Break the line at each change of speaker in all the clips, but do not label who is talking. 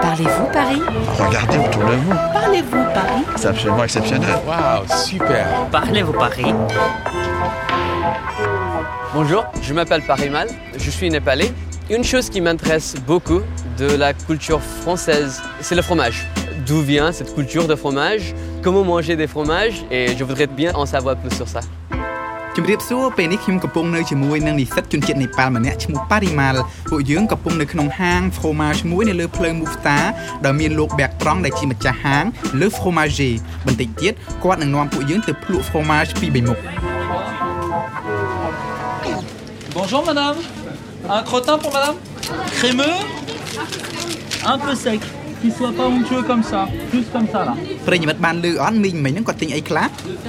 Parlez-vous Paris
Regardez autour de vous,
Parlez-vous Paris
c'est absolument exceptionnel.
Waouh, super
Parlez-vous Paris
Bonjour, je m'appelle Parimal, je suis népalais. Une chose qui m'intéresse beaucoup de la culture française, c'est le fromage. D'où vient cette culture de fromage Comment manger des fromages Et je voudrais bien en savoir plus sur ça.
ជម្រាបសួរពេលនេះខ្ញុំកំពុងនៅជាមួយនឹងនិស្សិតជនជាតិនេប៉ាល់ម្នាក់ឈ្មោះប៉ារីម៉ាល់ពួកយើងកំពុងនៅក្នុងហាង fromage មួយនៅលើផ្លូវ Mufta ដែលមានលោកបាក់ត្រង់ដែលជាម្ចាស់ហាង Le Fromager បន្តិចទៀតគាត់នឹងនាំពួកយើងទៅភ្លក់ fromage ពីបីមុខ
Bonjour madame. Un crottin pour madame Crémeux Un peu sec. Qu'il soit pas onctueux comme ça. Juste comme ça là.
ប្រិយមិត្តបានលើអត់មីងមិញហ្នឹងគាត់ទិញអីខ្លះ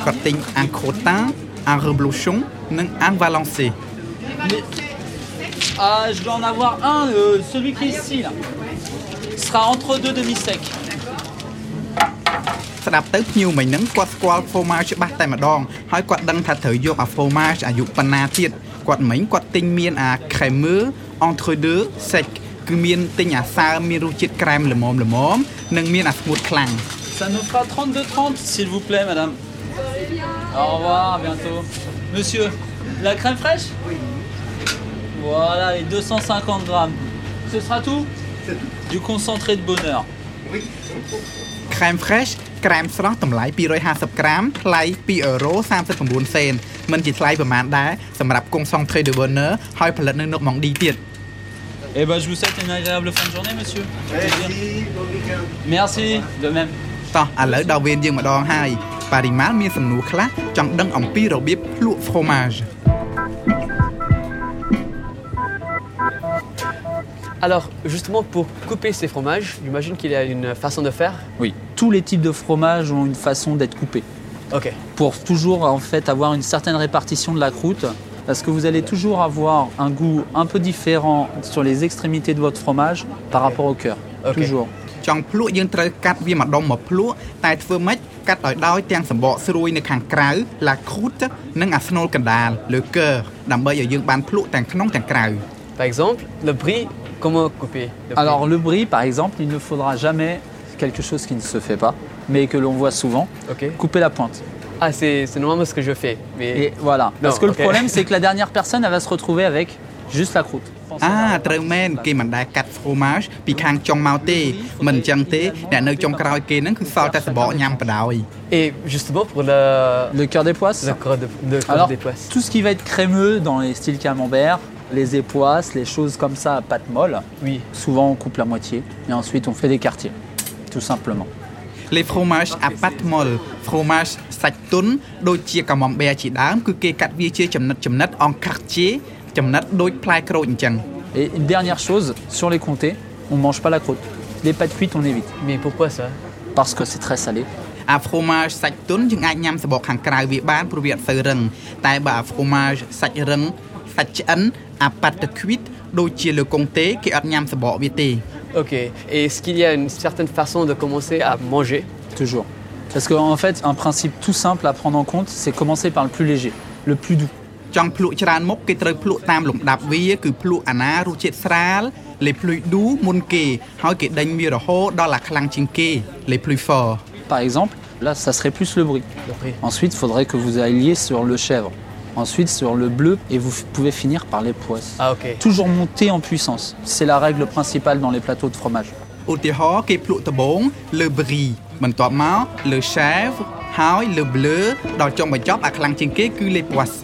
គាត់ទិញ un crottin un reblochon និង un valancé
Ah, je dois en avoir un, euh, celui qui est ici là. Ce sera entre deux demi-secs.
ស្ដាប់ទៅភ្ញៀវមិញហ្នឹងគាត់ស្គាល់ fromage ច្បាស់តែម្ដងហើយគាត់ដឹងថាត្រូវយកអា fromage អាយុប៉ុណ្ណាទៀតគាត់មិញគាត់ទិញមានអា crème entre deux sec គឺមានទិញអាសើមមានរសជាតិក្រែមល្មមល្មមនិងមានអាស្ងួតខ្លាំង
Ça nous fera 32,30 s'il vous plaît madame. Au revoir, à bientôt. Monsieur, la crème fraîche Voilà les 250 grammes. Ce sera tout Du concentré de bonheur.
crème fresh ក្រែមស្រស់តម្លៃ250ក្រាមថ្លៃ2អឺរ៉ូ39សេនមិនជាថ្លៃប្រហែលដែរសម្រាប់គង់សង់ Trade Burner ហើយផលិតនៅនុកម៉ងឌីទៀត
Eh ben, je vous souhaite une agréable fin de journée, monsieur. Merci, Merci, de même.
តោះឥឡូវដល់វេនយើងម្ដងហើយបរិមាណមានសំណួរខ្លះចង់ដឹងអំពីរបៀបភ្លក់ fromage
Alors, justement, pour couper ces fromages, j'imagine qu'il y a une façon de faire.
Oui, tous les types de fromages ont une façon d'être coupés.
Ok.
Pour toujours, en fait, avoir une certaine répartition de la croûte. Parce que vous allez toujours avoir un goût un peu différent sur les extrémités de votre fromage par rapport au cœur.
Ok.
Toujours.
ចង់ភ្លក់យើងត្រូវកាត់វាម្ដុំមកភ្លក់តែធ្វើម៉េចកាត់ឲ្យដោយទាំងសម្បកស្រួយនៅខាងក្រៅ la croûte និងអាស្នូលកណ្ដាលលើ cœur ដើម្បីឲ្យយើងបានភ្លក់ទាំងក្នុងទាំងក្រៅ
Par exemple, le brie, comment couper le brie
Alors, le brie, par exemple, il ne faudra jamais quelque chose qui ne se fait pas, mais que l'on voit souvent,
Ok.
couper la pointe.
Ah, c'est c'est normalement ce que je fais. Mais...
Et voilà. Parce que
ok.
le problème, c'est que la dernière personne, elle va se retrouver avec juste la croûte.
អា
Ah,
ត្រូវមែនគេមិនដែលកាត់ fromage ពីខាងចុងមកទេមិនអញ្ចឹងទេអ្នកនៅចុងក្រោយគេហ្នឹងគឺសល់តែសម្បកញ៉ាំបណ្ដោយ
Et justement, pour le...
Le cœur des poisses.
Le corps de, le corps
Alors,
des poisses.
tout ce qui va être crémeux dans les styles camembert, les époisses, les choses comme ça à pâte molle,
Oui.
souvent on coupe la moitié et ensuite on fait des quartiers, tout simplement.
les fromage à pâte molle fromage សាច់ទុនដូចជាកាម៉មបែជាដើមគឺគេកាត់វាជាចំណិតចំណិតអង្ខាក់ជាចំណិតដូចផ្លែក្រូចអញ្ចឹង
Et une dernière chose, sur les comtés, on mange pas la croûte. Les pâtes cuites, on évite
Mais pourquoi ça
parce que c'est très salé.
អា fromage សាច់ទុនយើងអាចញ៉ាំសបកខាងក្រៅវាបានព្រោះវាអត់សូវរឹងតែបើអា fromage សាច់រឹងសាច់ឆ្អិនអាប៉ាត់តឃ្វីតដូចជាលើកុងទេគេអត់ញ៉ាំសបកវាទេ
Ok. Et est-ce qu'il y a une certaine façon de commencer à manger
Toujours. Parce qu'en fait, un principe tout simple à prendre en compte, c'est commencer par le plus léger, le plus doux.
ចង់ភ្លក់ច្រើនមុខគេត្រូវភ្លក់តាមលំដាប់វាគឺភ្លក់អាណារសជាតិស្រាលលេភ្លុយឌូមុនគេហើយគេដេញវារហូតដល់អាខ្លាំងជាងគេលេភ្លុយហ្វ
Par exemple, là, ça serait plus le brie.
Le brie.
Ensuite, il faudrait que vous alliez sur le chèvre. Ensuite, sur le bleu, et vous f- pouvez finir par les poisses.
Ah, ok.
Toujours monter en puissance. C'est la règle principale dans les plateaux de fromage.
ឧទាហរណ៍គេភ្លក់ដំបូងលើប៊ីបន្ទាប់មកលើ chèvre ហើយលើ bleu ដល់ចុងបញ្ចប់អាខ្លាំងជាងគេគឺលេ poisse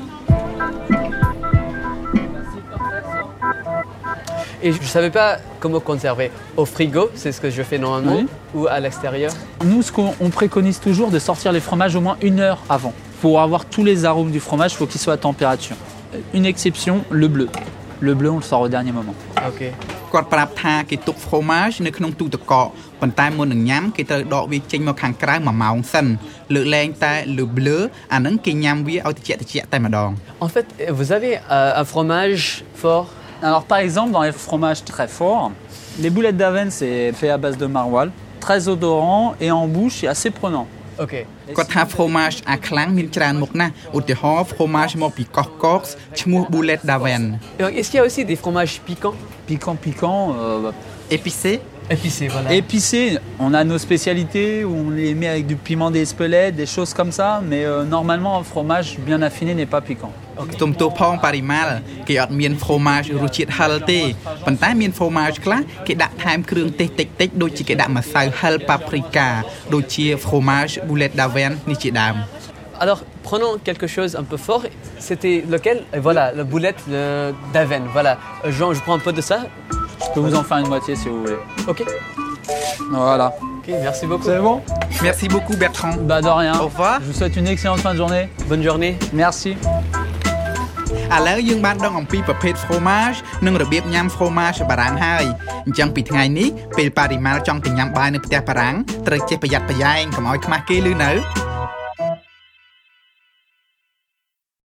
Et je ne savais pas comment conserver. Au frigo, c'est ce que je fais normalement,
Oui.
ou à l'extérieur.
Nous, ce qu'on on préconise toujours, de sortir les fromages au moins une heure avant. Pour avoir tous les arômes du fromage, il faut qu'il soit à température. Euh, Une exception, le bleu. Le bleu, on le sort au dernier moment.
Ah, ok.
គាត់ប្រាប់ថាគេទុក fromage នៅក្នុងទូទឹកកកប៉ុន្តែមុននឹងញ៉ាំគេត្រូវដកវាចេញមកខាងក្រៅមួយម៉ោងសិនលើកលែងតែលើ bleu អាហ្នឹងគេញ៉ាំវាឲ្យត្រជាក់ត្រជាក់តែម្ដង
En fait, vous avez euh, un fromage fort.
Alors, par exemple, dans les fromages très forts, les boulettes d'avenne, c'est fait à base de maroilles. Très odorant et en bouche, et assez prenant.
Ok.
គាត់ថា fromage អាខ្លាំងមានច្រើនមុខណាស់ឧទាហរណ៍ fromage មកពីកោះកកឈ្មោះ Boulet d'Aven
Et donc, Est-ce qu'il y a aussi des fromages piquants
Piquant, piquant, euh, bah,
épicé
Épicé, voilà.
Épicé, on a nos spécialités où on les met avec du piment d'Espelette, des choses comme ça, mais euh, normalement un fromage bien affiné n'est pas piquant.
ទុំទោសផងបរិមាណគេអត់មាន fromage រសជាតិហឹរទេប៉ុន្តែមាន fromage ខ្លះគេដាក់ថែមគ្រឿងទេសតិចតិចៗដូចជាគេដាក់ម្សៅហឹរប៉ាព្រីកាដូចជា fromage boulette d'avoine នេះជាដើម
Alors, prenons quelque chose un peu fort. C'était lequel Et Voilà, la boulette euh, d'Aven. Voilà. Euh, Jean, je prends un peu de ça.
Je peux vous en faire une moitié si vous voulez.
Ok.
Voilà.
Ok, merci beaucoup.
bon
Merci beaucoup Bertrand
Bah de rien.
Au revoir.
Je vous souhaite une excellente fin de journée.
Bonne journée.
Merci.
ឥឡូវយើងបានដឹងអំពីប្រភេទ fromage និងរបៀបញ៉ាំ fromage បារាំងហើយអញ្ចឹងពីថ្ងៃនេះពេលបរិមាណចង់ទៅញ៉ាំបាយនៅផ្ទះបារាំងត្រូវចេះប្រយ័ត្នប្រយែងកុំឲ្យខ្មាស់គេឮនៅ